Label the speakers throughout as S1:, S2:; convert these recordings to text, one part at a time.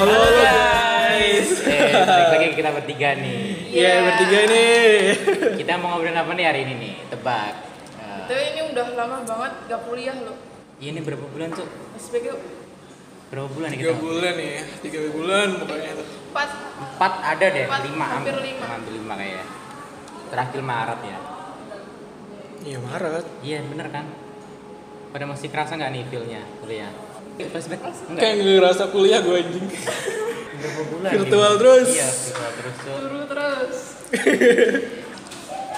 S1: Halo, halo guys.
S2: Eh, balik lagi kita bertiga nih.
S1: Ya, bertiga nih.
S2: Kita mau ngobrolin apa nih hari ini nih? Tebak. Eh,
S3: Tapi ini udah lama banget gak kuliah loh.
S2: ini berapa bulan tuh?
S3: SPG
S2: Berapa bulan nih
S1: Tiga
S2: kita?
S1: bulan ya, tiga bulan pokoknya. tuh.
S3: 4
S2: Empat ada deh,
S3: Empat,
S2: lima.
S3: hampir
S2: am-
S3: lima.
S2: Hampir lima kayaknya. Terakhir Maret ya.
S1: Iya Maret.
S2: Iya bener kan? Pada masih kerasa nggak nih feel-nya kuliah? Eh, Flashback?
S1: Kayak
S2: Enggak.
S1: nggak ngerasa kuliah gue anjing.
S2: Berapa bulan?
S1: virtual
S2: ini?
S1: terus.
S2: Iya, virtual terus tuh.
S3: guru terus.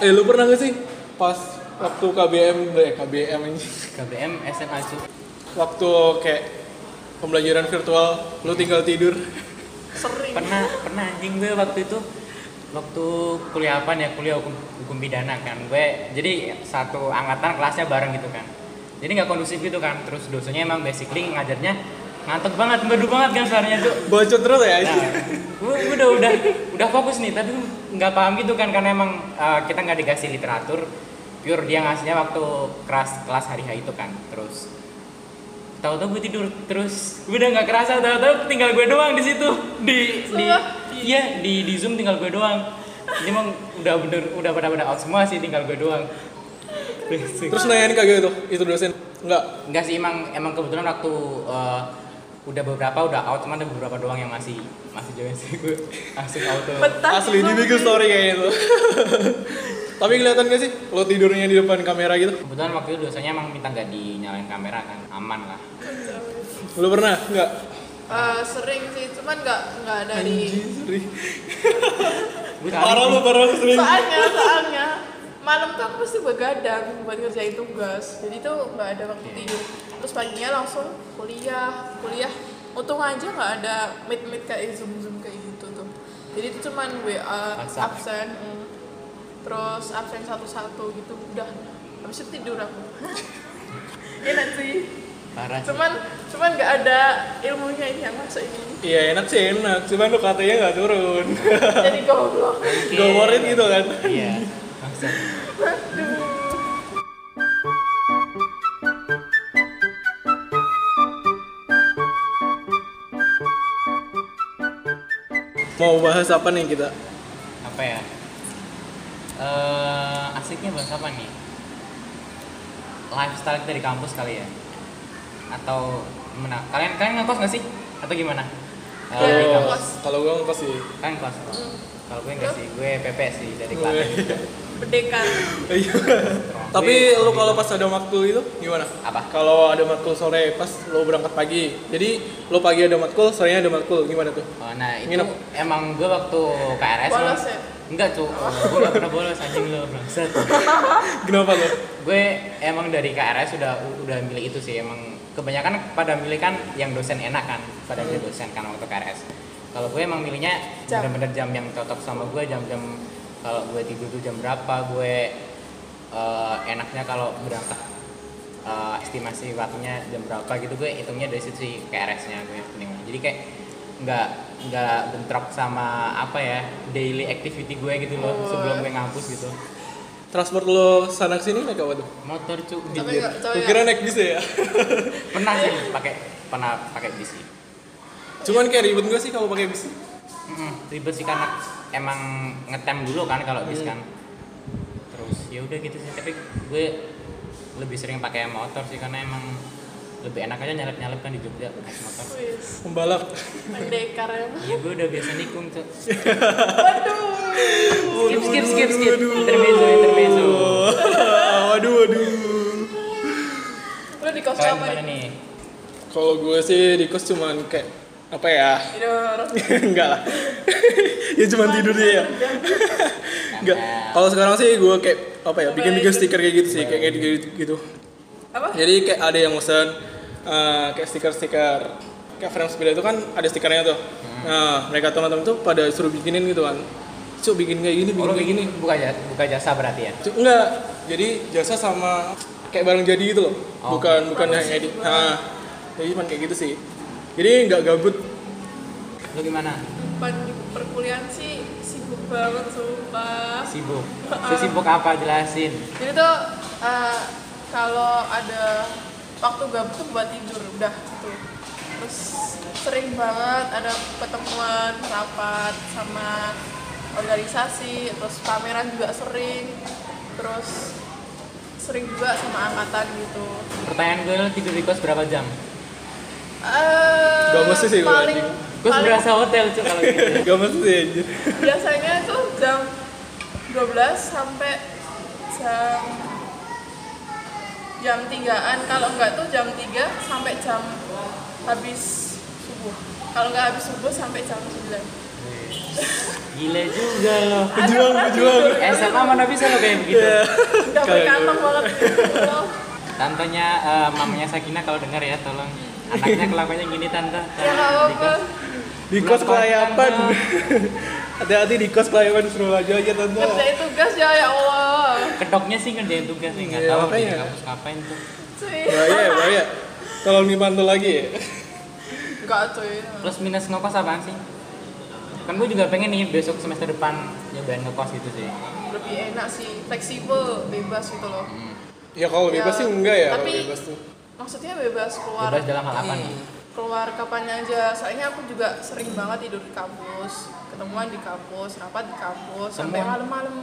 S1: Eh lu pernah gak sih pas waktu KBM, eh KBM anjing.
S2: KBM, SMA itu.
S1: Waktu kayak pembelajaran virtual, lu tinggal tidur.
S3: Sering.
S2: Pernah, pernah anjing gue waktu itu waktu kuliah apa ya kuliah hukum, hukum pidana kan gue jadi satu angkatan kelasnya bareng gitu kan jadi nggak kondusif gitu kan terus dosennya emang basically ngajarnya ngantuk banget bedu banget kan suaranya tuh
S1: Bocot terus ya
S2: Nah,
S1: anjing.
S2: gue gue udah udah udah fokus nih, tapi nggak paham gitu kan karena emang uh, kita nggak dikasih literatur pure dia ngasihnya waktu kelas kelas hari hari itu kan terus tahu-tahu gue tidur terus gue udah nggak kerasa tahu-tahu tinggal gue doang di situ di di
S3: Sumpah?
S2: iya di di zoom tinggal gue doang ini emang udah bener udah pada pada out semua sih tinggal gue doang
S1: Terus nanyain kagak tuh, itu dosen. Enggak.
S2: Enggak sih emang emang kebetulan waktu eh, udah beberapa udah out cuman ada beberapa doang yang masih masih join sih gue langsung out tuh.
S3: Betah
S1: Asli
S3: sih,
S1: di
S3: Bang.
S1: bikin story kayaknya tuh. Tapi kelihatan gak sih lo tidurnya di depan kamera gitu?
S2: Kebetulan waktu itu dosanya emang minta nggak dinyalain kamera kan aman lah.
S1: Lu pernah? Enggak.
S3: Eh, sering sih, cuman gak nggak ada di.
S1: Anjing,
S2: Gue
S1: Parah lu, parah lu sering.
S3: Soalnya soalnya malam tuh aku pasti begadang buat ngerjain tugas. Jadi tuh nggak ada waktu tidur. Terus paginya langsung kuliah, kuliah. Untung aja nggak ada meet-meet kayak zoom-zoom kayak gitu tuh. Jadi itu cuman WA
S2: WhatsApp.
S3: absen, mm. terus absen satu-satu gitu udah. Habis itu tidur aku. ya nanti.
S2: Parah sih.
S3: cuman cuman nggak ada ilmunya ini yang masuk ini
S1: Iya enak sih enak, cuman lu katanya nggak turun.
S3: jadi goblok
S2: Oke.
S1: Gak worth it gitu kan?
S2: Iya. Langsung.
S1: Mau bahas apa nih kita?
S2: Apa ya? Eh asiknya bahas apa nih? Lifestyle kita di kampus kali ya? Atau mana? Kalian kalian ngekos nggak sih? Atau gimana? Eh,
S3: Iya,
S2: di
S1: Kalau
S2: kampus.
S1: kalau gue ngekos sih.
S2: Kan kelas. Kalau gue nggak sih, gue PP sih dari kelas.
S3: bedekan
S1: Iya. Tapi lu kalau pas ada matkul itu gimana?
S2: Apa?
S1: Kalau ada matkul sore, pas lo berangkat pagi. Jadi lo pagi ada matkul, sorenya ada matkul. Gimana tuh?
S2: Oh, nah itu
S1: Nginep.
S2: emang gue waktu KRS
S3: Bolos
S2: emang-
S3: ya?
S2: Enggak cu, gue gak pernah bolos anjing lo bangsat
S1: Kenapa lo?
S2: Gue emang dari KRS udah udah milih itu sih emang Kebanyakan pada milih kan yang dosen enak kan Pada milih dosen kan waktu KRS Kalau gue emang milihnya
S3: Hmm. Jam.
S2: bener-bener jam yang cocok sama gue Jam-jam kalau gue tidur tuh jam berapa Gue eh, enaknya kalau berangkat eh, estimasi waktunya jam berapa gitu gue hitungnya dari situ sih KRS-nya gue hitungnya. Jadi kayak nggak nggak bentrok sama apa ya daily activity gue gitu loh
S3: Oh.
S2: sebelum gue ngampus gitu
S1: Transport lo sana sini naik apa tuh?
S2: motor cu
S3: Tapi
S1: Iya.
S3: nggak- tapi
S1: Gua kira naik bis ya.
S2: pernah sih pakai pernah pakai bis sih
S1: Cuman kayak ribet gak sih kalau pakai bis?
S2: Mm-mm, ribet sih karena emang ngetem dulu kan kalau
S3: Iya.
S2: bis kan terus ya udah gitu sih tapi gue lebih sering pakai motor sih karena emang lebih enak aja nyalep nyalep kan di Jogja naik motor
S3: wis
S1: Pembalap.
S3: pendekar ya
S2: Iya gue udah biasa nikung tuh.
S3: waduh
S2: Skip skip skip skip. Intermezzo intermezzo.
S1: waduh, waduh.
S3: lu di kos
S2: Kalian
S3: apa
S2: gimana
S3: ini
S2: nih?
S1: Kalau gue sih di kos cuman kayak apa ya?
S3: tidur
S1: Enggak lah. ya cuman tidur aja ya. Enggak. Kalau sekarang sih gue kayak apa ya? Bikin-bikin stiker kayak gitu sih, kayak kayak gitu, gitu.
S3: apa
S1: Jadi kayak ada yang mesen eh, kayak stiker-stiker kayak frame sepeda itu kan ada stikernya tuh.
S2: Hmm.
S1: Nah, mereka teman-teman tuh pada suruh bikinin gitu kan. Cuk bikin kayak gini,
S2: Oh,
S1: bikin
S2: lu
S1: kayak gini.
S2: begini buka jasa, buka jasa berarti ya?
S1: Cuk, enggak. Jadi jasa sama kayak barang jadi gitu loh.
S2: Oh.
S1: Bukan bukan yang edit. Nah, jadi cuman kayak gitu sih. Jadi nggak gabut.
S2: Lu gimana?
S3: Depan di perkuliahan sih sibuk banget sumpah
S2: Sibuk. Sesibuk apa jelasin?
S3: jadi tuh eh, kalau ada waktu gabut tuh buat tidur udah gitu terus sering banget ada pertemuan rapat sama organisasi terus pameran juga sering terus sering juga sama angkatan gitu
S2: Pertanyaan gue lo tidur di kos berapa jam?
S3: Eh,
S1: Gak mesti sih gua
S3: paling,
S1: anjing.
S2: Gue
S3: paling
S2: berasa hotel cuy kalau gitu.
S1: Gak mesti anjir.
S3: biasanya tuh jam 12 sampai jam jam 3-an kalau enggak tuh jam 3 sampai jam habis subuh kalau enggak habis subuh sampai jam 9
S2: Gila juga lo.
S1: Pejuang, pejuang.
S2: SMA mana bisa lo kayak begitu?
S1: Iya. Kayak
S3: udah berkantong banget gitu loh.
S2: Tantenya eh, mamanya Sakina kalau dengar ya tolong anaknya kelakuannya gini tante.
S3: ya nggak apa-apa
S1: Di kos kelayapan.
S3: Ah.
S1: Hati-hati di kos kelayapan suruh aja aja tante.
S3: ngerjain tugas ya ya Allah
S2: Kedoknya sih ngerjain tugas nih nggak
S1: Iya,
S2: tahu di
S1: makanya.
S2: kampus ngapain tuh.
S3: cuy
S1: Bahaya, ya, bahaya. Tolong dipantau lagi ya.
S3: enggak cuy
S2: Plus minus ngekos apaan sih? Kan gue juga pengen nih besok semester depan nyobain ngekos gitu sih.
S3: lebih enak sih fleksibel bebas gitu loh
S1: Ya kalau bebas
S3: Ya,
S1: sih enggak ya. Kalau
S3: tapi-
S1: bebas tuh.
S3: maksudnya bebas keluar
S2: Bebas dalam hal apa
S3: Iya.
S2: nih?
S3: keluar kapan aja soalnya aku juga sering banget tidur di kampus ketemuan di kampus rapat di kampus sampai
S2: Temuan?
S3: malam-malam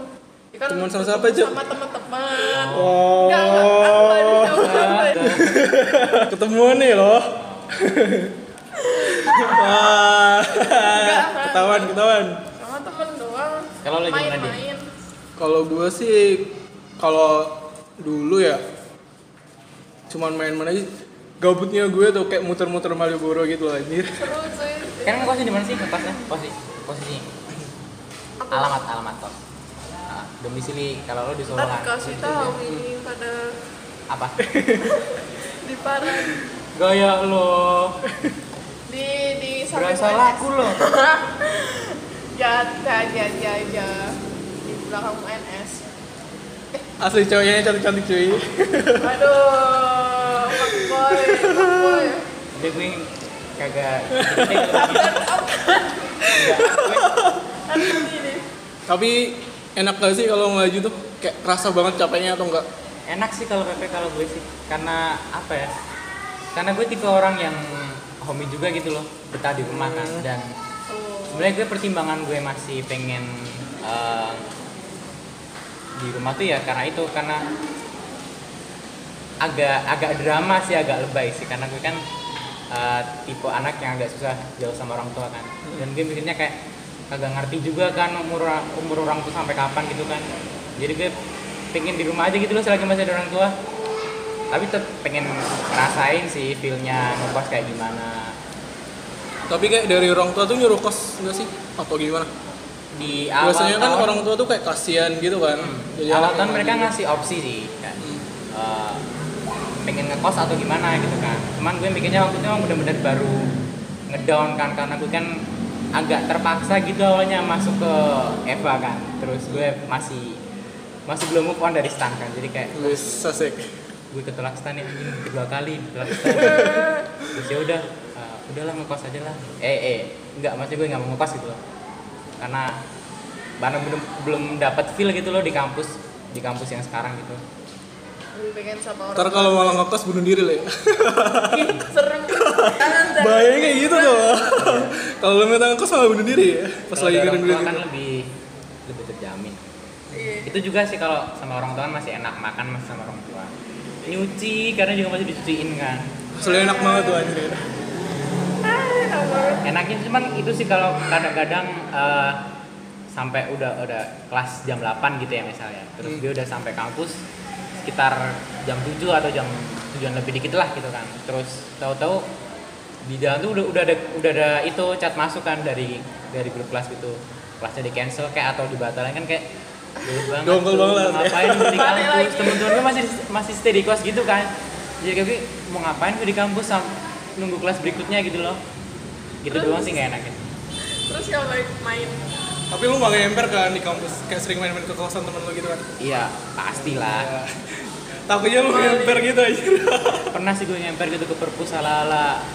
S3: Ya kan
S1: Temuan sama
S3: ketemu
S1: siapa, Cuk?
S3: sama teman-teman enggak enggak aku nggak ada
S1: Oh,
S3: teman.
S2: Eh,
S1: ketemuan nih loh. Wah, ketahuan ketahuan.
S3: sama teman doang
S2: Kalau lagi mana, Din?
S3: main-main
S1: Kalau gue sih kalau dulu ya cuman main-main aja gabutnya gue tuh kayak muter-muter Malioboro gitu loh anjir.
S3: seru sih
S2: Kan ngekosnya di mana sih ngekosnya? Posisi posisi
S3: Aku
S2: alamat alamat kos. Nah, domisili kalau lo di Solo
S3: ntar
S2: kan.
S3: kasih tahu ini pada
S2: Apa?
S3: di Parang
S2: Gaya lo.
S3: di di
S2: Berasa
S3: mana?
S2: laku lo.
S3: ya aja aja aja di belakang UNS
S1: Asli cowoknya cantik-cantik cuy.
S3: aduh fuckboy fuckboy
S2: Udah gue kagak
S3: Aduh, ini
S1: Tapi enak gak sih kalau melaju tuh kayak kerasa banget capeknya atau enggak?
S2: enak sih kalau PP kalau gue sih karena apa ya karena gue tipe orang yang homey juga gitu loh betah di rumah kan dan
S3: tuh
S2: sebenarnya gue pertimbangan gue masih pengen eh, di rumah tuh ya karena itu karena agak agak drama sih agak lebay sih karena gue kan eh, tipe anak yang agak susah jauh sama orang tua kan dan gue mikirnya kayak agak ngerti juga kan umur umur orang tuh sampai kapan gitu kan jadi gue pengen di rumah aja gitu loh selagi masih ada orang tua tapi tetap pengen ngerasain sih feelnya ngekos kayak gimana
S1: Tapi kayak dari orang tua tuh nyuruh kos enggak sih? Atau gimana?
S2: di awal
S1: Biasanya kan
S2: tahun- Hmm.
S1: orang tua tuh kayak kasihan gitu kan. Jadi
S2: awal
S1: anak Hmm.
S2: tahun
S1: yang
S2: mereka
S1: maju.
S2: ngasih opsi sih kan Eh, pengen ngekos atau gimana gitu kan cuman gue mikirnya waktu itu emang bener-bener baru ngedown kan karena gue kan agak terpaksa gitu awalnya masuk ke Eva kan terus gue masih masih belum move on dari stan kan jadi kayak
S1: Wis asik.
S2: gue ketolak stan nih anjing, dua kali ketolak stan terus ya udah eh, udahlah ngekos aja lah eh eh nggak maksud gue nggak mau ngekos gitu loh karena karena belum belum dapat feel gitu loh di kampus di kampus yang sekarang gitu
S3: lebih pengen sama orang
S1: Ntar kalau malah ngekos bunuh diri lah ya.
S3: serem jangan jangan.
S1: Bahayanya kayak gitu tuh. kalau lu minta ngekos malah bunuh diri ya. Pas
S2: Iya. Kalau
S1: lagi
S2: dari
S1: kirim
S2: orang
S1: duit
S2: tua kan
S1: gitu.
S2: lebih lebih terjamin
S3: Iya.
S2: itu juga sih kalau sama orang tua kan masih enak makan masih sama orang tua nyuci karena juga masih dicuciin kan
S1: Asli enak banget tuh anjir.
S3: Ah, enak banget.
S2: enaknya cuman itu sih kalau kadang-kadang eh, sampai udah udah kelas jam 8 gitu ya misalnya terus
S1: Hmm.
S2: dia udah sampai kampus sekitar jam 7 atau jam tujuan lebih dikit lah gitu kan terus tahu-tahu di jalan tuh udah udah ada udah ada itu chat masuk kan dari dari grup kelas gitu kelasnya di cancel kayak atau dibatalin kan kayak dulu banget
S1: Dongkol
S2: tuh,
S1: banget.
S2: ngapain gue di
S3: Balik
S2: kampus
S3: lagi.
S2: temen-temen gue masih masih stay di kelas gitu kan jadi kayak gue mau ngapain gue di kampus sam- nunggu kelas berikutnya gitu loh gitu
S3: Terus?
S2: doang sih nggak enaknya
S3: terus kalau lagi main
S1: Tapi lu gak ngemper kan di kampus? Kayak sering main-main ke kosan temen lu gitu kan?
S2: iya pastilah
S1: Ya. Takutnya lu ngemper gitu anjir.
S2: pernah sih gue ngemper gitu ke perpus ala ala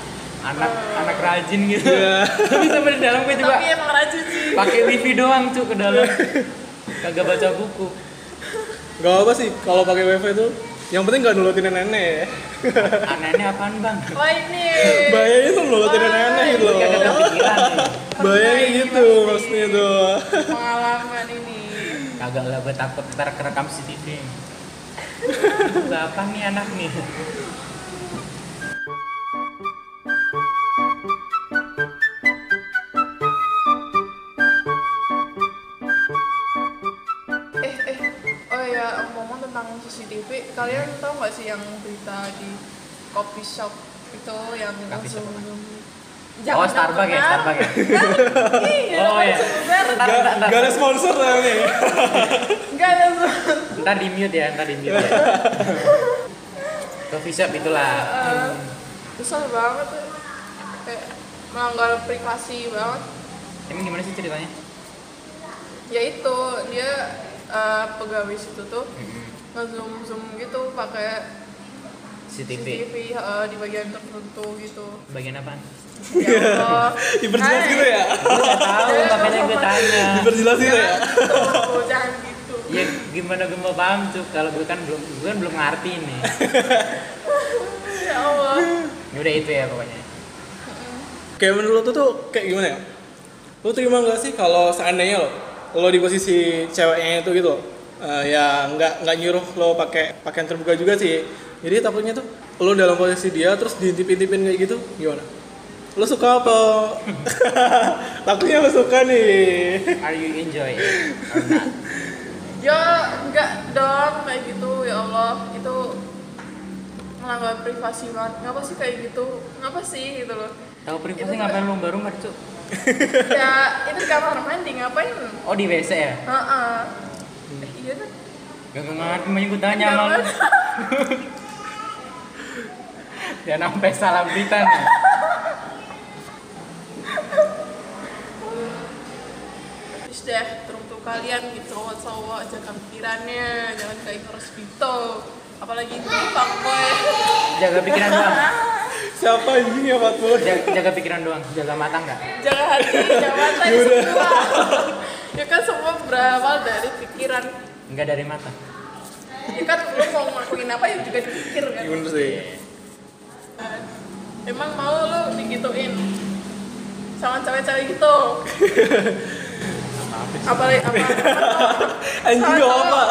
S2: anak anak rajin gitu
S1: Iya.
S2: tapi sampai di dalam gue
S3: tapi
S2: coba
S3: emang rajin sih
S2: pakai wifi doang tuh ke dalam kagak baca buku
S1: Gak apa sih kalau pakai wifi tuh Yang penting nggak nulotin nenek ya.
S2: anehnya apaan bang
S3: Wah Oh, ini.
S1: Bahayanya tuh nulotin nenek gitu loh.
S2: gak ada pikiran nih
S1: Bahayanya gitu maksudnya tuh.
S3: Pengalaman ini.
S2: kagak lah gue takut ntar kerekam CCTV Gak apa nih anak nih
S3: Eh eh. Oh ya ngomong tentang CCTV, kalian tahu nggak sih yang berita di coffee shop itu yang
S2: Coffee shop
S3: langsung
S2: apa? oh
S3: Jangan
S2: Starbucks ya
S3: takut, Nak.
S2: Starbucks ya
S3: Iya,
S2: Oh,
S3: namanya
S2: iya.
S3: sumber.
S2: Ntar,
S1: Gak,
S2: ntar, ntar.
S1: gak ada sponsor soalnya.
S3: Enggak ada sumber.
S2: ntar di mute ya ntar di mute ya coffee shop itulah
S3: Eh, Kesel banget tuh. Kayak melanggar privasi banget.
S2: emang gimana sih ceritanya
S3: Ya itu, dia eh, pegawai situ tuh nge-zoom-zoom gitu pakai
S2: CCTV
S3: CCTV eh, di bagian tertentu gitu.
S2: bagian apaan?
S3: Ya Allah.
S1: Iya. Diperjelas
S3: Hai.
S1: gitu ya.
S2: Gue gak tau,
S3: Iya,
S2: makanya gue tanya.
S1: Diperjelas gitu ya.
S3: Jangan gitu, jangan gitu.
S2: Ya gimana gue mau paham tuh kalau gue kan belum gue kan belum ngerti nih.
S3: Ya Allah.
S2: Ya udah itu ya pokoknya.
S1: Kayak menurut lo tuh kayak gimana ya? Lo terima gak sih kalau seandainya lo lo di posisi ceweknya itu gitu eh, ya nggak nggak nyuruh lo pakai pakaian terbuka juga sih jadi takutnya tuh lo dalam posisi dia terus diintip-intipin kayak gitu gimana lo suka apa takutnya lo suka nih
S2: Are you enjoy it or not?
S3: Ya enggak dong kayak gitu ya Allah itu melanggar privasi banget. Ngapa sih kayak gitu? Ngapa sih gitu loh?
S2: Tahu
S3: Itu
S2: privasi
S3: tuh-
S2: ngapain lu baru nggak tuh?
S3: Ya ini di kamar mandi ngapain?
S2: Oh di WC ya?
S3: Heeh. Eh, iya kan?
S2: Gak ngerti makanya gue tanya sama lu. Dan sampai salah berita nih.
S3: Terus deh, teruntuk kalian gitu cowok-cowok jaga pikirannya, jangan kayak harus gitu. Apalagi itu fuckboy.
S2: Jaga pikiran doang.
S1: siapa anjing ya Pak Boy?
S2: Jaga, jaga pikiran doang. Jaga mata nggak?
S3: Jaga hati, jangan mata ya semua. ya kan semua berawal dari pikiran.
S2: Nggak dari mata.
S3: Ya kan lu mau ngelakuin apa ya juga dipikir kan.
S1: Iya bener sih
S3: Emang mau lu digituin sama cewek-cewek gitu. Apalagi apa?
S1: anjing gak apa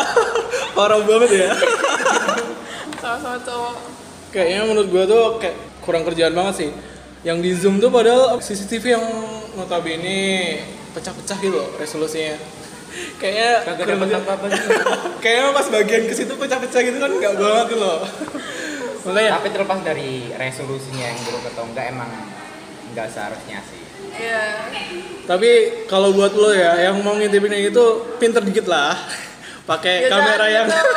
S1: parah banget ya
S3: Sama-sama cowok.
S1: Kayaknya menurut gua tuh kayak kurang kerjaan banget sih. Yang di zoom tuh padahal CCTV yang notabene pecah-pecah gitu loh resolusinya. Kayaknya
S2: Kagak
S1: kurang
S2: dapat
S1: kerjaan.
S2: apa-apa sih.
S1: Kayaknya pas bagian ke situ pecah-pecah gitu kan nggak banget gitu loh. ya, Makanya
S2: Tapi terlepas dari resolusinya yang buruk atau enggak emang nggak seharusnya sih.
S3: Iya.
S1: tapi kalau buat lo ya yang mau ngintipin yang itu pinter dikit lah. Pakai
S3: Ya,
S1: kamera
S3: jangan
S1: yang
S3: gitu.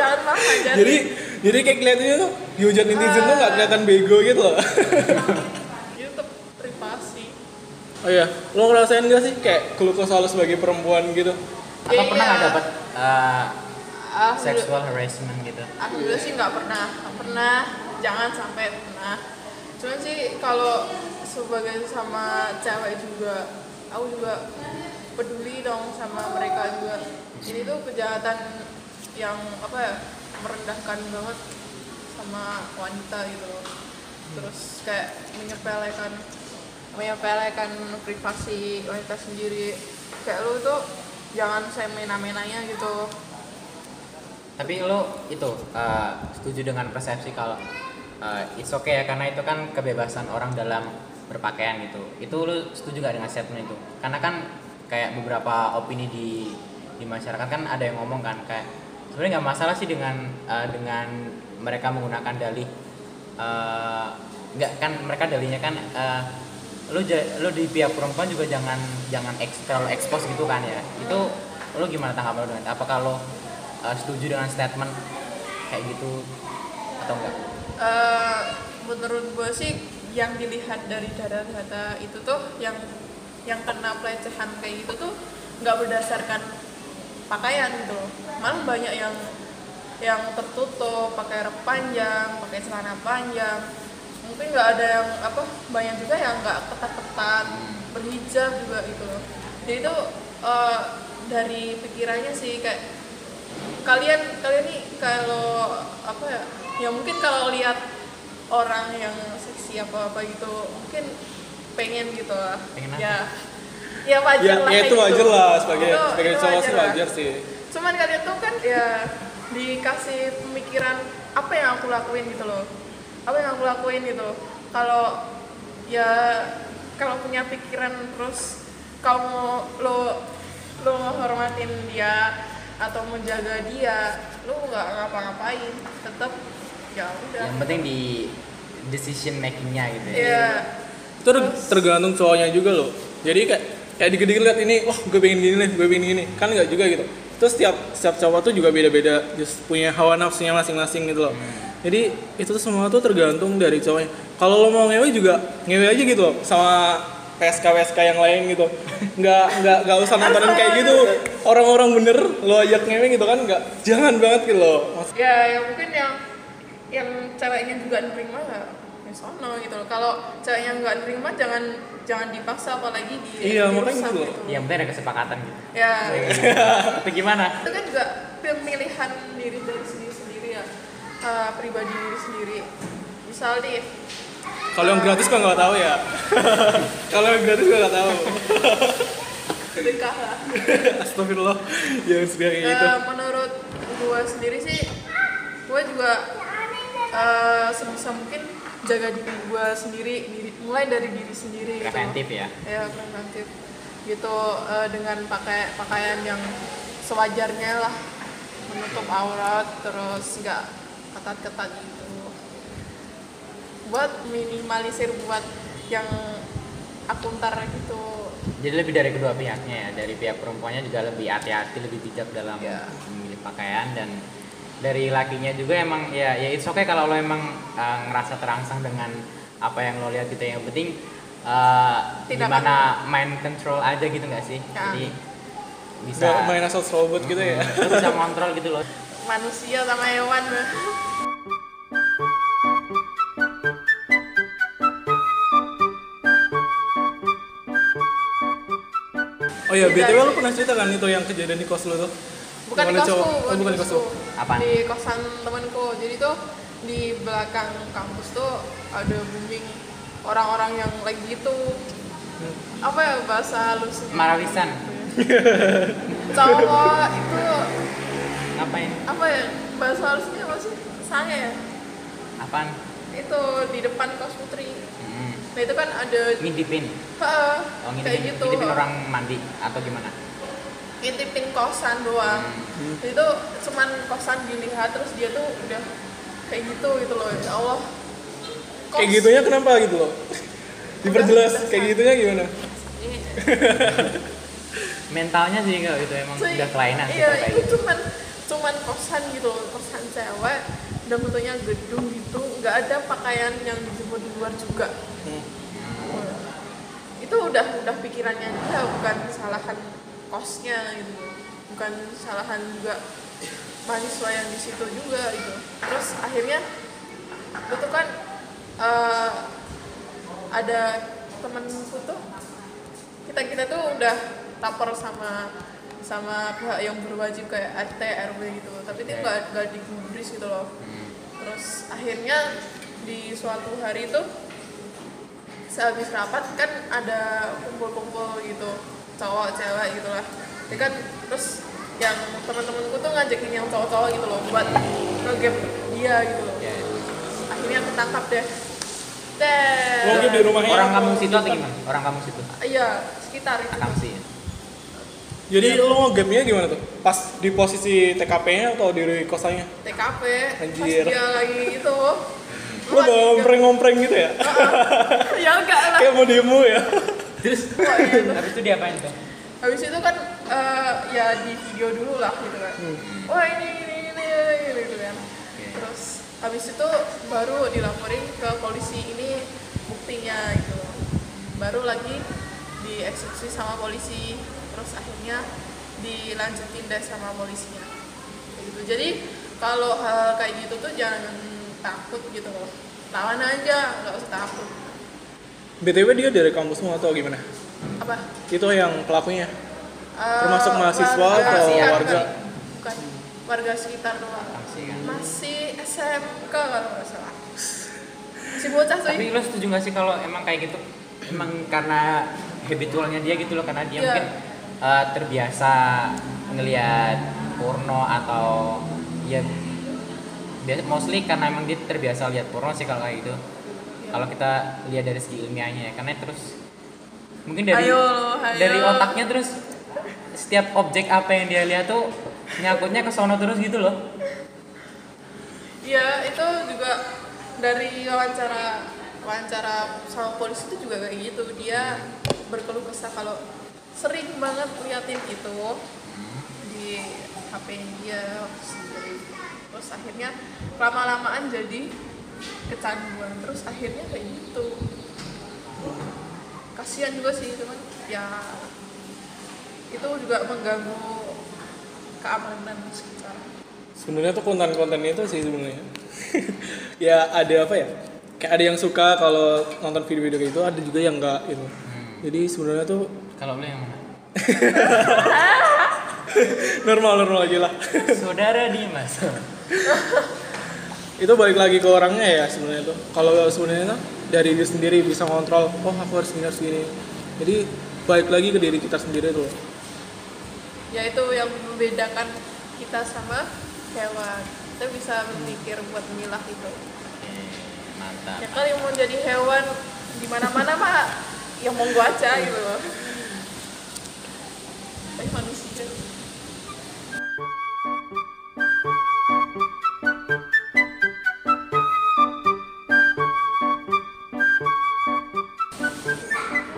S3: jangan mah jangan.
S1: jadi jadi kayak kelihatannya tuh dihujat netizen tuh nggak kelihatan bego gitu loh.
S3: itu tetap privasi.
S1: oh iya, lo ngerasain gak sih kayak keluh kesah lo sebagai perempuan gitu?
S2: Atau pernah nggak
S3: Iya.
S2: dapat eh,
S3: Ah,
S2: sexual harassment gitu?
S3: aku dulu sih nggak pernah nggak pernah jangan sampai pernah cuman sih kalau sebagai sama cewek juga aku juga peduli dong sama mereka juga ini tuh kejahatan yang apa ya merendahkan banget sama wanita gitu loh terus kayak menyepelekan menyepelekan privasi wanita sendiri kayak lu tuh jangan semena-menanya gitu
S2: Tapi lo itu eh, setuju dengan persepsi kalau eh, it's okay ya karena itu kan kebebasan orang dalam berpakaian gitu. Itu lo setuju nggak dengan statement itu? Karena kan kayak beberapa opini di di masyarakat kan ada yang ngomong kan kayak sebenarnya nggak masalah sih dengan eh, dengan mereka menggunakan dalih eh, nggak kan mereka dalihnya kan eh, lo ja- lo di pihak perempuan juga jangan jangan ekstral expose gitu kan ya itu lo gimana tanggapan lo dengan apakah lo uh, setuju dengan statement kayak gitu atau enggak?
S3: Eh, menurut gue sih yang dilihat dari data-data itu tuh yang yang kena pelecehan kayak gitu tuh nggak berdasarkan pakaian gitu loh. malah banyak yang yang tertutup pakai rok panjang pakai celana panjang mungkin nggak ada yang apa banyak juga yang nggak ketat-ketat
S2: Hmm.
S3: berhijab juga gitu loh jadi itu eh, dari pikirannya sih kayak kalian kalian nih kalau apa ya ya mungkin kalau lihat orang yang seksi apa apa gitu mungkin pengen gitu lah
S2: Pengen apa?
S3: ya ya wajar
S1: ya,
S3: lah
S1: ya
S3: kayak
S1: itu wajar
S3: gitu.
S1: lah sebagai
S3: Itu-
S1: sebagai
S3: itu
S1: cowok sih
S3: lah.
S1: wajar sih
S3: cuman kalian tuh kan ya dikasih pemikiran apa yang aku lakuin gitu loh apa yang aku lakuin gitu kalau ya kalau punya pikiran terus kamu lo lo menghormatin dia atau menjaga dia lo nggak ngapa-ngapain tetap ya udah
S2: yang penting di decision makingnya gitu ya
S3: ya
S1: itu ter- tergantung cowoknya juga loh jadi kayak kayak dikit-dikit lihat ini wah gue pengen gini nih gue pengen gini kan nggak juga gitu terus setiap setiap cowok tuh juga beda-beda just punya hawa nafsunya masing-masing gitu loh jadi itu tuh semua tuh tergantung dari cowoknya kalau lo mau ngewe juga ngewe aja gitu loh sama PSK PSK yang lain gitu nggak nggak nggak usah nontonin kayak gitu orang-orang bener lo ajak ngewe gitu kan nggak jangan banget gitu loh Mas-
S3: ya ya mungkin yang yang ceweknya juga nerima ya ya sono gitu loh kalau ceweknya nggak nerima jangan jangan dipaksa apalagi di
S1: Iya,
S3: dirusak
S1: makanya gitu loh.
S2: yang penting ada kesepakatan gitu
S3: ya
S2: atau gimana
S3: itu kan juga pemilihan diri dari sendiri sendiri ya Eh, pribadi diri sendiri misal nih
S1: kalau yang gratis kan nggak tahu ya kalau yang gratis gue nggak tahu
S3: sedekah lah
S1: Astagfirullah yang sudah kayak gitu.
S3: Eh, menurut gue sendiri sih gue juga eh, sebisa mungkin jaga diri gue sendiri diri- mulai dari diri sendiri gitu.
S2: preventif ya
S3: ya preventif gitu eh, dengan pakai pakaian yang sewajarnya lah menutup aurat terus nggak ketat-ketat gitu buat minimalisir buat yang akuntar gitu
S2: jadi lebih dari kedua pihaknya ya dari pihak perempuannya juga lebih hati-hati lebih bijak dalam
S3: Iya.
S2: memilih pakaian dan dari lakinya juga emang ya ya it's okay kalau lo emang uh, ngerasa terangsang dengan apa yang lo lihat gitu yang penting uh,
S3: Tidak
S2: gimana mind control aja gitu nggak sih
S3: Ya.
S2: jadi bisa
S1: Nggak main asal serobot gitu ya.
S2: lo bisa ngontrol gitu loh
S3: manusia sama hewan
S1: Oh iya, BTW lu pernah cerita kan itu yang kejadian di kos lu tuh?
S3: bukan di
S1: Yang ada
S3: kosku
S1: cowok- Oh, bukan di kos lu.
S2: Apaan?
S3: di kosan temanku jadi tuh di belakang kampus tuh ada booming orang-orang yang lagi gitu
S1: Hmm.
S3: apa ya bahasa halusnya
S2: marawisan
S3: cowok itu
S2: ngapain
S3: apa ya bahasa halusnya apa sih sange ya
S2: apaan
S3: itu di depan kos putri
S2: hmm.
S3: nah itu kan ada
S2: ngintipin
S3: Heeh,
S2: oh ngintipin,
S3: kayak gitu
S2: ngintipin orang mandi atau gimana
S3: ngintipin kosan doang
S2: Hmm.
S3: Jadi itu cuman kosan dilihat terus dia tuh udah kayak gitu gitu loh ya Allah Kos-
S1: Kayak gitunya kenapa gitu loh? Diperjelas
S3: Udah,
S1: kayak gitunya gimana?
S3: Iya.
S2: mentalnya sih enggak gitu emang
S3: Cuy,
S2: udah kelainan sih
S3: iya
S2: kalau kayak
S3: itu
S2: gitu
S3: cuman cuman kosan gitu loh kosan cewek dan bentuknya gedung gitu nggak ada pakaian yang dijemur di luar juga
S2: Hmm.
S3: itu udah udah pikirannya dia bukan kesalahan kosnya gitu bukan kesalahan juga mahasiswa yang di situ juga gitu terus akhirnya itu kan eh, ada temenku tuh kita kita tuh udah lapor sama sama pihak yang ya, berwajib kayak RT RW gitu tapi dia nggak nggak digubris gitu loh
S2: Hmm.
S3: terus akhirnya di suatu hari itu sehabis rapat kan ada kumpul-kumpul gitu cowok cewek gitu lah Dia kan terus yang teman-temanku tuh ngajakin yang cowok-cowok gitu loh buat ngegap dia gitu loh
S2: Ya,
S3: akhirnya ketangkap deh deh
S1: Lo di rumahnya.
S2: orang kampung situ atau gimana? Orang kampung situ.
S3: iya sekitar itu
S2: Akamsi. ya?
S1: Jadi lo mau game-nya gimana tuh? Pas di posisi TKP-nya atau di kosannya?
S3: TKP
S1: Anjir.
S3: pas dia lagi itu
S1: Lo bawa ngompreng-ngompreng gitu ya?
S3: ya enggak lah iya,
S1: Kayak mau demo ya?
S2: Terus
S3: Pokoknya
S2: habis itu diapain tuh?
S3: habis itu kan eh, ya di video dulu lah gitu kan wah ini ini ini ini, gitu kan terus habis itu baru dilaporin ke polisi ini buktinya gitu baru lagi dieksekusi sama polisi terus akhirnya dilanjutin deh sama polisinya Kayak gitu jadi kalau hal kayak gitu tuh jangan takut gitu loh lawan aja nggak usah takut
S1: BTW dia dari kampusmu atau gimana?
S3: apa
S1: Itu yang pelakunya.
S3: Eh,
S1: Termasuk mahasiswa
S3: warga-
S1: atau
S3: bukan,
S1: warga?
S3: bukan. warga sekitar doang
S2: Pasti kan.
S3: masih SMK kalau nggak salah masih bocah
S2: Tapi
S3: sih
S2: lo setuju gak sih kalau emang kayak gitu? Emang karena habitualnya dia gitu loh, karena dia
S3: Iya.
S2: mungkin eh, terbiasa ngelihat porno atau ya biasa mostly karena emang dia terbiasa lihat porno sih kalau kayak gitu. Kalau kita lihat dari segi ilmiahnya ya, karena terus mungkin dari
S3: Ayo, ayo.
S2: dari otaknya terus setiap objek apa yang dia lihat tuh nyangkutnya ke sono terus gitu loh.
S3: ya itu juga dari wawancara wawancara sama polisi itu juga kayak gitu dia berkeluh kesah kalau sering banget liatin itu di HP dia waktu sendiri terus akhirnya lama-lamaan jadi kecanduan terus akhirnya kayak gitu kasihan juga sih cuman ya itu juga mengganggu keamanan sekitar
S1: sebenarnya tuh konten-konten itu sih sebenarnya ya ada apa ya kayak ada yang suka kalau nonton video-video kayak itu ada juga yang enggak gitu jadi sebenarnya tuh
S2: Kalau lo yang mana?
S1: normal normal aja lah
S2: Saudara Dimas.
S1: itu balik lagi ke orangnya ya sebenarnya tuh kalau sebenarnya tuh dari diri sendiri bisa ngontrol oh aku harus gini harus gini jadi balik lagi ke diri kita sendiri tuh
S3: yaitu yang membedakan kita sama hewan kita bisa berpikir buat milah itu
S2: Mantap.
S3: ya kali mau jadi hewan di mana mana pak yang monggo aja gitu loh tapi manusia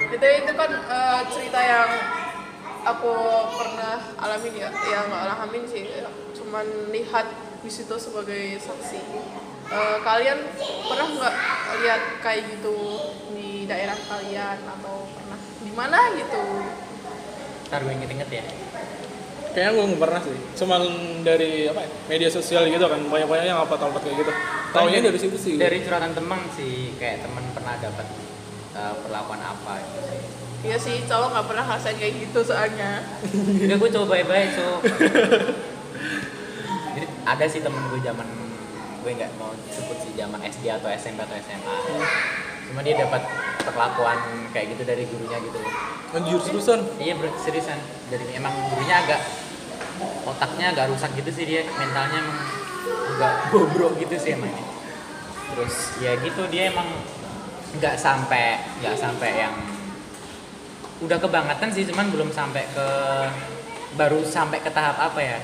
S3: itu itu kan eh, cerita yang aku pernah alamin ya yang nggak alamin sih cuman lihat di situ sebagai saksi Eh, kalian pernah nggak lihat kayak gitu di daerah kalian atau pernah di mana gitu
S2: Ntar gue inget-inget ya.
S1: kayaknya gue nggak pernah sih cuman dari apa ya, media sosial gitu kan banyak banyak yang apa tempat kayak gitu taunya dari situ sih
S2: Dari curhatan teman sih, kayak teman pernah dapat uh, perlakuan apa gitu sih.
S3: iya sih cowok nggak pernah ngerasain kayak gitu soalnya
S2: Udah gue coba baik-baik, so. Jadi ada sih temen gue zaman gue nggak mau sebut sih zaman SD atau SMP atau SMA. Cuma dia dapat perlakuan kayak gitu dari gurunya gitu.
S1: anjir seriusan
S2: Iya bro, seriusan. Dari emang gurunya agak otaknya agak rusak gitu sih dia, mentalnya emang agak bobrok gitu sih emangnya. Terus ya gitu dia emang nggak sampai nggak sampai yang udah kebangetan sih cuman belum sampai ke baru sampai ke tahap apa ya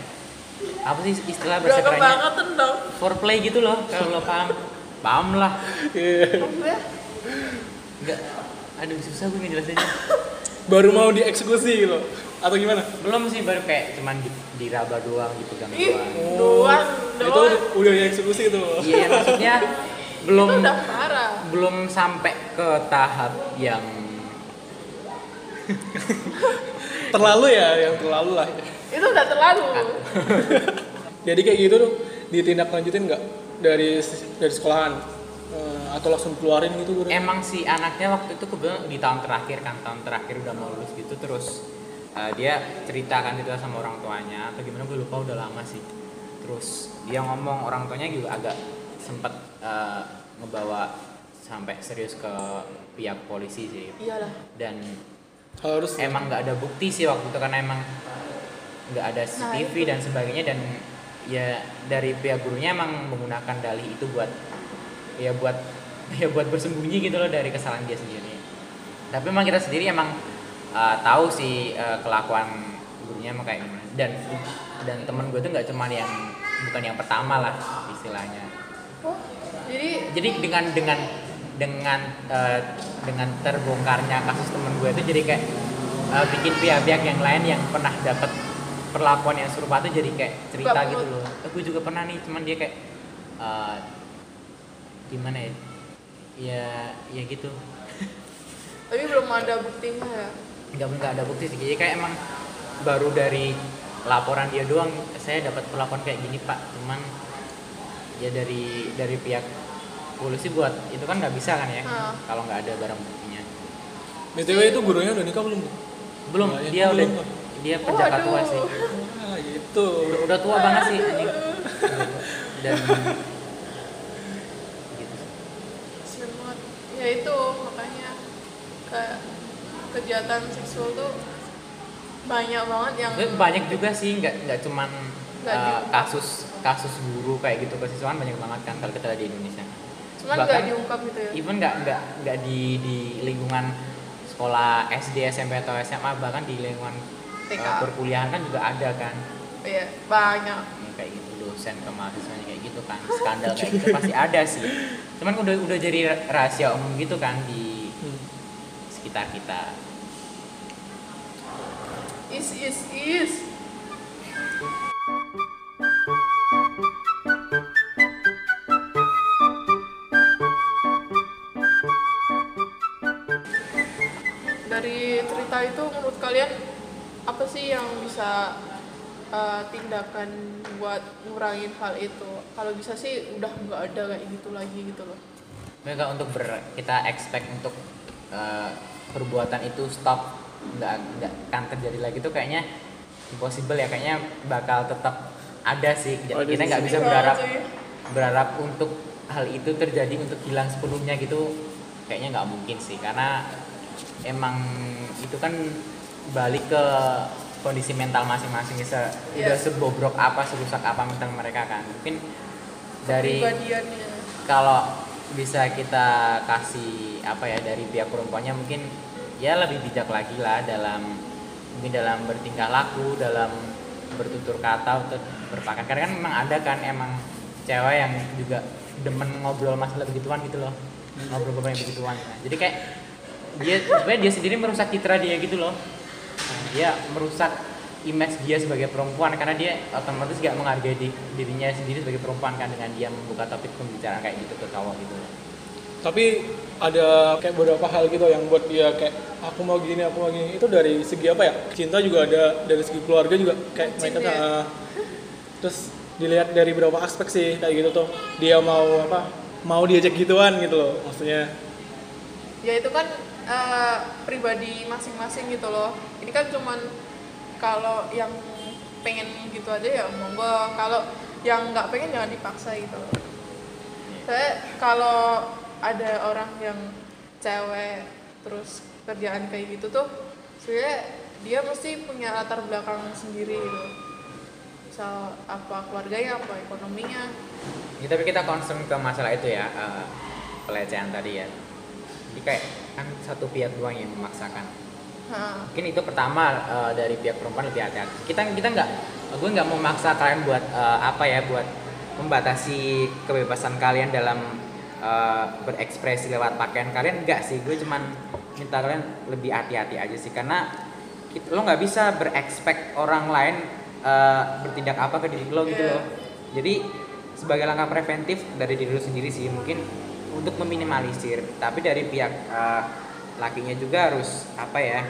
S2: apa sih istilah
S3: udah
S2: bahasa kerennya
S3: kebangetan dong
S2: foreplay gitu loh kalau lo paham paham lah
S1: Iya.
S3: maksudnya
S2: nggak aduh susah gue ngejelasinnya
S1: baru mau dieksekusi gitu atau gimana
S2: belum sih baru kayak cuman di, diraba doang dipegang
S3: ih
S2: doang
S3: doang
S1: itu
S3: doang
S1: udah dieksekusi itu loh
S2: Iya maksudnya
S3: itu
S2: belum
S3: udah parah
S2: belum sampai ke tahap yang
S1: terlalu ya yang terlalu lah
S3: itu udah terlalu
S1: jadi kayak gitu tuh ditindak lanjutin nggak dari dari sekolahan Eh, atau langsung keluarin gitu guru
S2: emang si anaknya waktu itu kebetulan di tahun terakhir kan tahun terakhir udah mau lulus gitu terus eh, dia ceritakan itu sama orang tuanya atau gimana gue lupa udah lama sih terus dia ngomong orang tuanya juga agak sempet eh, ngebawa sampai serius ke pihak polisi sih
S3: iyalah
S2: dan
S1: harus
S2: emang nggak ada bukti sih waktu itu karena emang nggak ada CCTV dan sebagainya dan ya dari pihak gurunya emang menggunakan dalih itu buat ya buat ya buat bersembunyi gitu loh dari kesalahan dia sendiri tapi emang kita sendiri emang uh, tahu sih uh, kelakuan gurunya emang kayak gimana dan dan teman gue tuh nggak cuman yang bukan yang pertama lah istilahnya
S3: oh jadi
S2: jadi dengan dengan dengan eh, dengan terbongkarnya kasus temen gue itu jadi kayak eh, bikin pihak-pihak yang lain yang pernah dapat perlakuan yang serupa tuh jadi kayak cerita
S3: Nggak
S2: gitu
S3: perlu.
S2: loh. Eh, gue juga pernah nih, cuman dia kayak eh, gimana ya? Ya ya gitu.
S3: tapi belum ada buktinya ya
S2: Nggak nggak ada bukti sih. Jadi kayak emang baru dari laporan dia doang saya dapat perlakuan kayak gini pak cuman ya dari dari pihak polisi buat itu kan nggak bisa kan ya
S3: Ah.
S2: kalau nggak ada barang buktinya
S1: btw itu gurunya udah nikah belum
S2: belum
S1: Nah, ya,
S2: dia
S1: belum,
S2: udah
S1: Pak.
S2: dia pejabat tua
S3: Waduh.
S2: sih
S1: ah gitu
S2: udah, udah tua banget sih anjing dan gitu sih.
S3: Kasian banget. ya itu makanya ke kejahatan seksual tuh banyak banget yang
S2: Tapi banyak juga sih nggak nggak cuman
S3: Nggak
S2: eh,
S3: diungkap.
S2: kasus kasus guru kayak gitu kesiswaan banyak banget kan kalau kita lihat di Indonesia
S3: cuman nggak
S2: bahkan-
S3: diungkap gitu ya
S2: even nggak nggak nggak di di lingkungan sekolah SD SMP atau SMA bahkan di lingkungan eh,
S3: TK.
S2: perkuliahan kan juga ada kan
S3: Iya, banyak
S2: Ya, kayak gitu dosen ke mahasiswanya kayak gitu kan skandal kayak gitu pasti ada sih cuman udah udah jadi rahasia umum gitu kan di
S1: Hmm.
S2: sekitar kita
S3: is is is dari cerita itu menurut kalian apa sih yang bisa eh, tindakan buat ngurangin hal itu kalau bisa sih udah nggak ada kayak gitu lagi gitu loh
S2: mereka untuk ber, kita expect untuk eh, perbuatan itu stop nggak nggak akan terjadi lagi tuh kayaknya impossible ya kayaknya bakal tetap ada sih
S1: Oh, Ada
S2: kita nggak
S1: sih.
S2: bisa
S3: Sedih
S2: berharap
S3: banget sih.
S2: berharap untuk hal itu terjadi untuk hilang sepenuhnya gitu kayaknya nggak mungkin sih karena emang itu kan balik ke kondisi mental masing-masing ya, se udah
S3: Iya.
S2: sebobrok apa serusak apa mental mereka kan mungkin dari
S3: kepribadiannya
S2: kalau bisa kita kasih apa ya dari pihak perempuannya mungkin ya lebih bijak lagi lah dalam mungkin dalam bertingkah laku dalam bertutur kata untuk berpakaian karena kan memang ada kan emang cewek yang juga demen ngobrol masalah begituan gitu loh ngobrol ngobrol yang begituan jadi kayak dia sebenarnya dia sendiri merusak citra dia gitu loh Nah, dia merusak image dia sebagai perempuan karena dia otomatis gak menghargai di- dirinya sendiri sebagai perempuan kan dengan dia membuka topik pembicaraan kayak gitu ke cowok gitu
S1: tapi ada kayak beberapa hal gitu yang buat dia kayak aku mau gini aku mau gini itu dari segi apa ya cinta juga ada dari segi keluarga juga kayak
S3: Bucin
S1: mereka
S3: ya.
S1: eh, terus dilihat dari beberapa aspek sih kayak gitu tuh dia mau apa mau diajak gituan gitu loh maksudnya
S3: ya itu kan eh, pribadi masing-masing gitu loh ini kan cuman kalau yang pengen gitu aja ya monggo kalau yang nggak pengen jangan dipaksa gitu loh. saya kalau ada orang yang cewek terus kerjaan kayak gitu tuh sebenarnya dia mesti punya latar belakang sendiri gitu misal apa keluarganya apa ekonominya
S2: Ya, tapi kita concern ke masalah itu ya eh, pelecehan tadi ya jadi kayak kan satu pihak doang yang memaksakan
S3: nah,
S2: mungkin itu pertama eh, dari pihak perempuan lebih hati-hati kita kita nggak gue nggak mau maksa kalian buat eh, apa ya buat membatasi kebebasan kalian dalam eh, berekspresi lewat pakaian kalian nggak sih gue cuman minta kalian lebih hati-hati aja sih karena kit- Gitu. lo nggak bisa berekspek orang lain eh, bertindak apa ke diri lo gitu
S3: Iya.
S2: loh jadi sebagai langkah preventif dari diri lo sendiri sih mungkin untuk meminimalisir tapi dari pihak eh, lakinya juga harus apa ya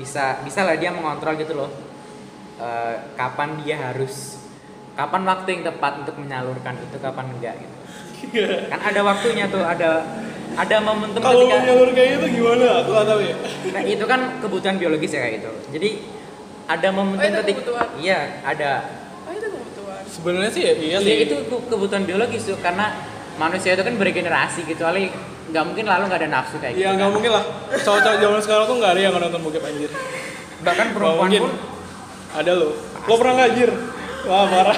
S2: bisa bisa lah dia mengontrol gitu loh Eh, kapan dia harus kapan waktu yang tepat untuk menyalurkan itu kapan enggak gitu kan ada waktunya tuh ada ada momentum
S1: kalau
S2: ketika-
S1: menyalur kayak itu gimana aku nggak tahu ya
S2: Nah, itu kan kebutuhan biologis ya kayak gitu jadi ada momentum
S3: Oh, itu
S2: ketik-
S3: kebutuhan.
S2: iya ada
S3: oh itu kebutuhan
S1: sebenarnya sih ya iya sih
S2: iya itu ke- kebutuhan biologis tuh karena manusia itu kan bergenerasi gitu kali nggak mungkin lalu nggak ada nafsu kayak
S1: ya
S3: Iya.
S1: nggak
S2: gitu kan.
S1: mungkin lah cowok-cowok zaman sekarang tuh nggak ada yang nonton bokep anjir
S2: bahkan perempuan
S1: Nggak
S2: pun
S1: ada lo lo pernah nggak anjir wah marah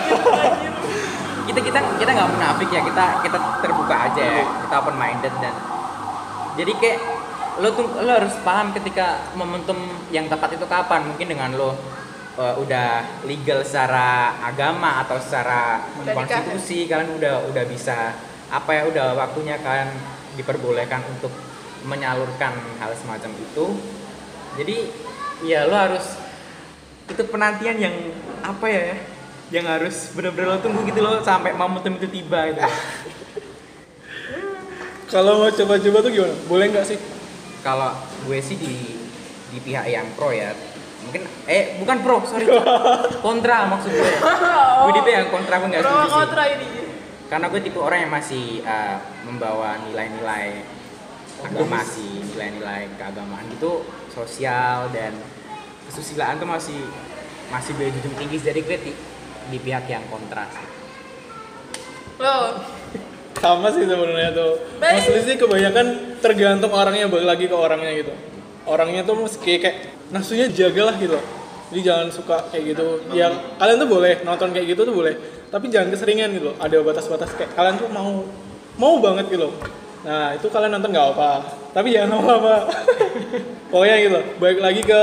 S2: kita kita kita nggak munafik ya kita kita terbuka aja
S3: Iya.
S2: ya kita open minded dan jadi kayak lo tuh lo harus paham ketika momentum yang tepat itu kapan mungkin dengan lo uh, udah legal secara agama atau secara
S3: Udah nikah. ya?
S2: konstitusi kalian udah udah bisa apa ya udah waktunya kalian diperbolehkan untuk menyalurkan hal semacam itu jadi ya lo harus itu penantian yang apa ya yang harus bener-bener lo tunggu gitu lo sampai momentum itu tiba gitu
S1: kalau mau coba-coba tuh gimana boleh nggak sih
S2: kalau gue sih di di pihak yang pro ya mungkin eh bukan pro sorry kontra maksud gue gue di pihak Oh. kontra gue nggak
S3: pro
S2: setuju sih
S3: Oh, kontra ini
S2: karena gue tipe orang yang masih eh, membawa nilai-nilai agama sih nilai-nilai keagamaan gitu sosial dan kesusilaan tuh masih masih berjunjung tinggi jadi gue di, di pihak yang kontra sih.
S3: Loh,
S1: sama sih sebenarnya tuh
S3: Baik.
S1: mostly sih kebanyakan tergantung orangnya balik lagi ke orangnya gitu orangnya tuh mesti kayak, kayak nafsunya jagalah gitu jadi jangan suka kayak gitu yang kalian tuh boleh nonton kayak gitu tuh boleh tapi jangan keseringan gitu loh ada batas-batas kayak kalian tuh mau mau banget gitu loh nah itu kalian nonton nggak apa tapi jangan lama-lama pokoknya gitu loh balik lagi ke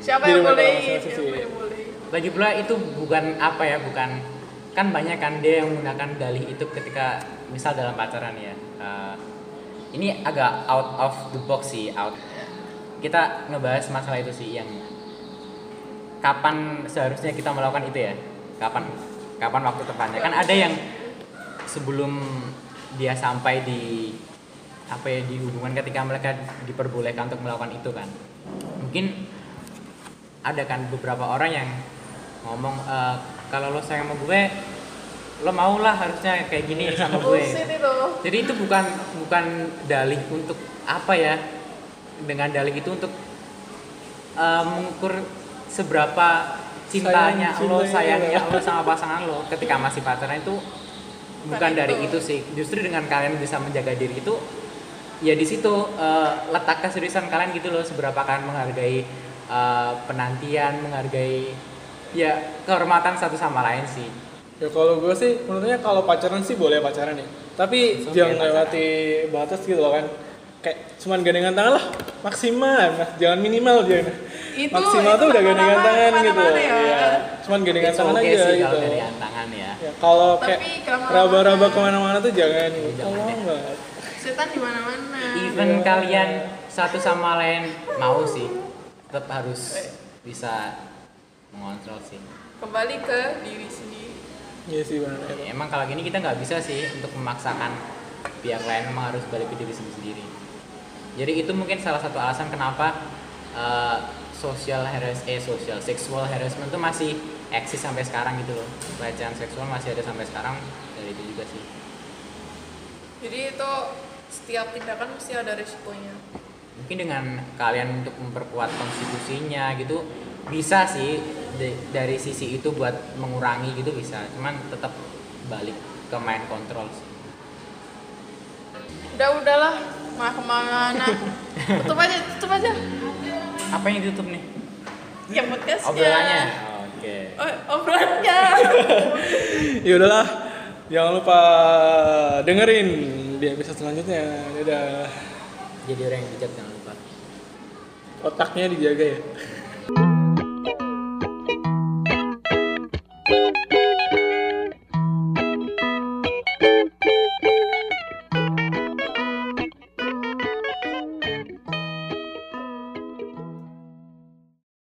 S3: siapa
S1: Jadi
S3: yang
S1: mereka
S3: boleh?
S1: langsung
S3: Siapa
S1: sisi.
S3: yang boleh?
S2: Lagi pula itu bukan apa ya, bukan kan banyak kan dia yang menggunakan dalih itu ketika misal dalam pacaran ya. Eh, ini agak out of the box sih, out. Kita ngebahas masalah itu sih yang kapan seharusnya kita melakukan itu ya? Kapan? Kapan waktu tepatnya? Kan ada yang sebelum dia sampai di apa ya di hubungan ketika mereka diperbolehkan untuk melakukan itu kan. Mungkin ada kan beberapa orang yang ngomong "Eh, kalau lo sayang sama gue lo mau lah harusnya kayak gini sama
S3: Bullshit
S2: gue
S3: itu.
S2: jadi itu bukan bukan dalih untuk apa ya dengan dalih itu untuk eh, mengukur seberapa cintanya
S1: Sayang,
S2: lo
S1: cintanya
S2: sayangnya
S1: lo.
S2: lo sama pasangan lo ketika masih pacaran itu bukan
S3: Bukan
S2: dari
S3: itu.
S2: itu sih justru dengan kalian bisa menjaga diri itu ya di situ eh, letak keseriusan kalian gitu loh seberapa kalian menghargai eh, penantian menghargai ya kehormatan satu sama lain sih
S1: ya kalau gue sih menurutnya kalau pacaran sih boleh pacaran ya tapi
S2: Langsung
S1: jangan
S2: ya,
S1: lewati batas gitu loh kan kayak cuman gandengan tangan lah maksimal mas jangan minimal dia
S3: Itu-
S1: maksimal
S3: itu
S1: tuh udah
S3: lama-lama,
S1: gandengan tangan gitu
S3: lama-lama ya.
S1: Iya. cuman gandengan
S2: It's
S1: tangan
S2: okay
S1: aja
S2: sih
S1: gitu
S2: kalau dari tangan ya
S1: ya, kalau
S3: Tapi
S1: kayak
S3: kalau
S1: raba-raba
S3: lama-lama-
S1: kemana-mana tuh jangan gitu.
S2: Jangan
S1: tolong
S2: deh.
S1: banget
S3: Setan di mana-mana.
S2: even
S1: Iya.
S2: kalian satu sama lain mau sih tetap harus bisa mengontrol sih
S3: Kembali ke diri sendiri.
S1: iya sih benar
S2: Ya, emang kalau gini kita nggak bisa sih untuk memaksakan pihak lain emang harus balik ke diri sendiri jadi itu mungkin salah satu alasan kenapa eh, social harassment eh social sexual harassment itu masih eksis sampai sekarang gitu loh pelecehan seksual masih ada sampai sekarang dari itu juga sih
S3: Jadi itu setiap tindakan mesti ada resikonya.
S2: mungkin dengan kalian untuk memperkuat konstitusinya gitu bisa sih de- dari sisi itu buat mengurangi gitu bisa cuman tetap balik ke mind control sih.
S3: Udah udahlah, mah kemana? tutup aja, tutup aja.
S2: apa yang ditutup nih
S3: Ya podcastnya.
S2: obrolannya oke
S3: Oh, obrolannya.
S1: ya udahlah jangan lupa dengerin di episode selanjutnya dadah
S2: jadi orang yang bijak jangan lupa
S1: otaknya dijaga ya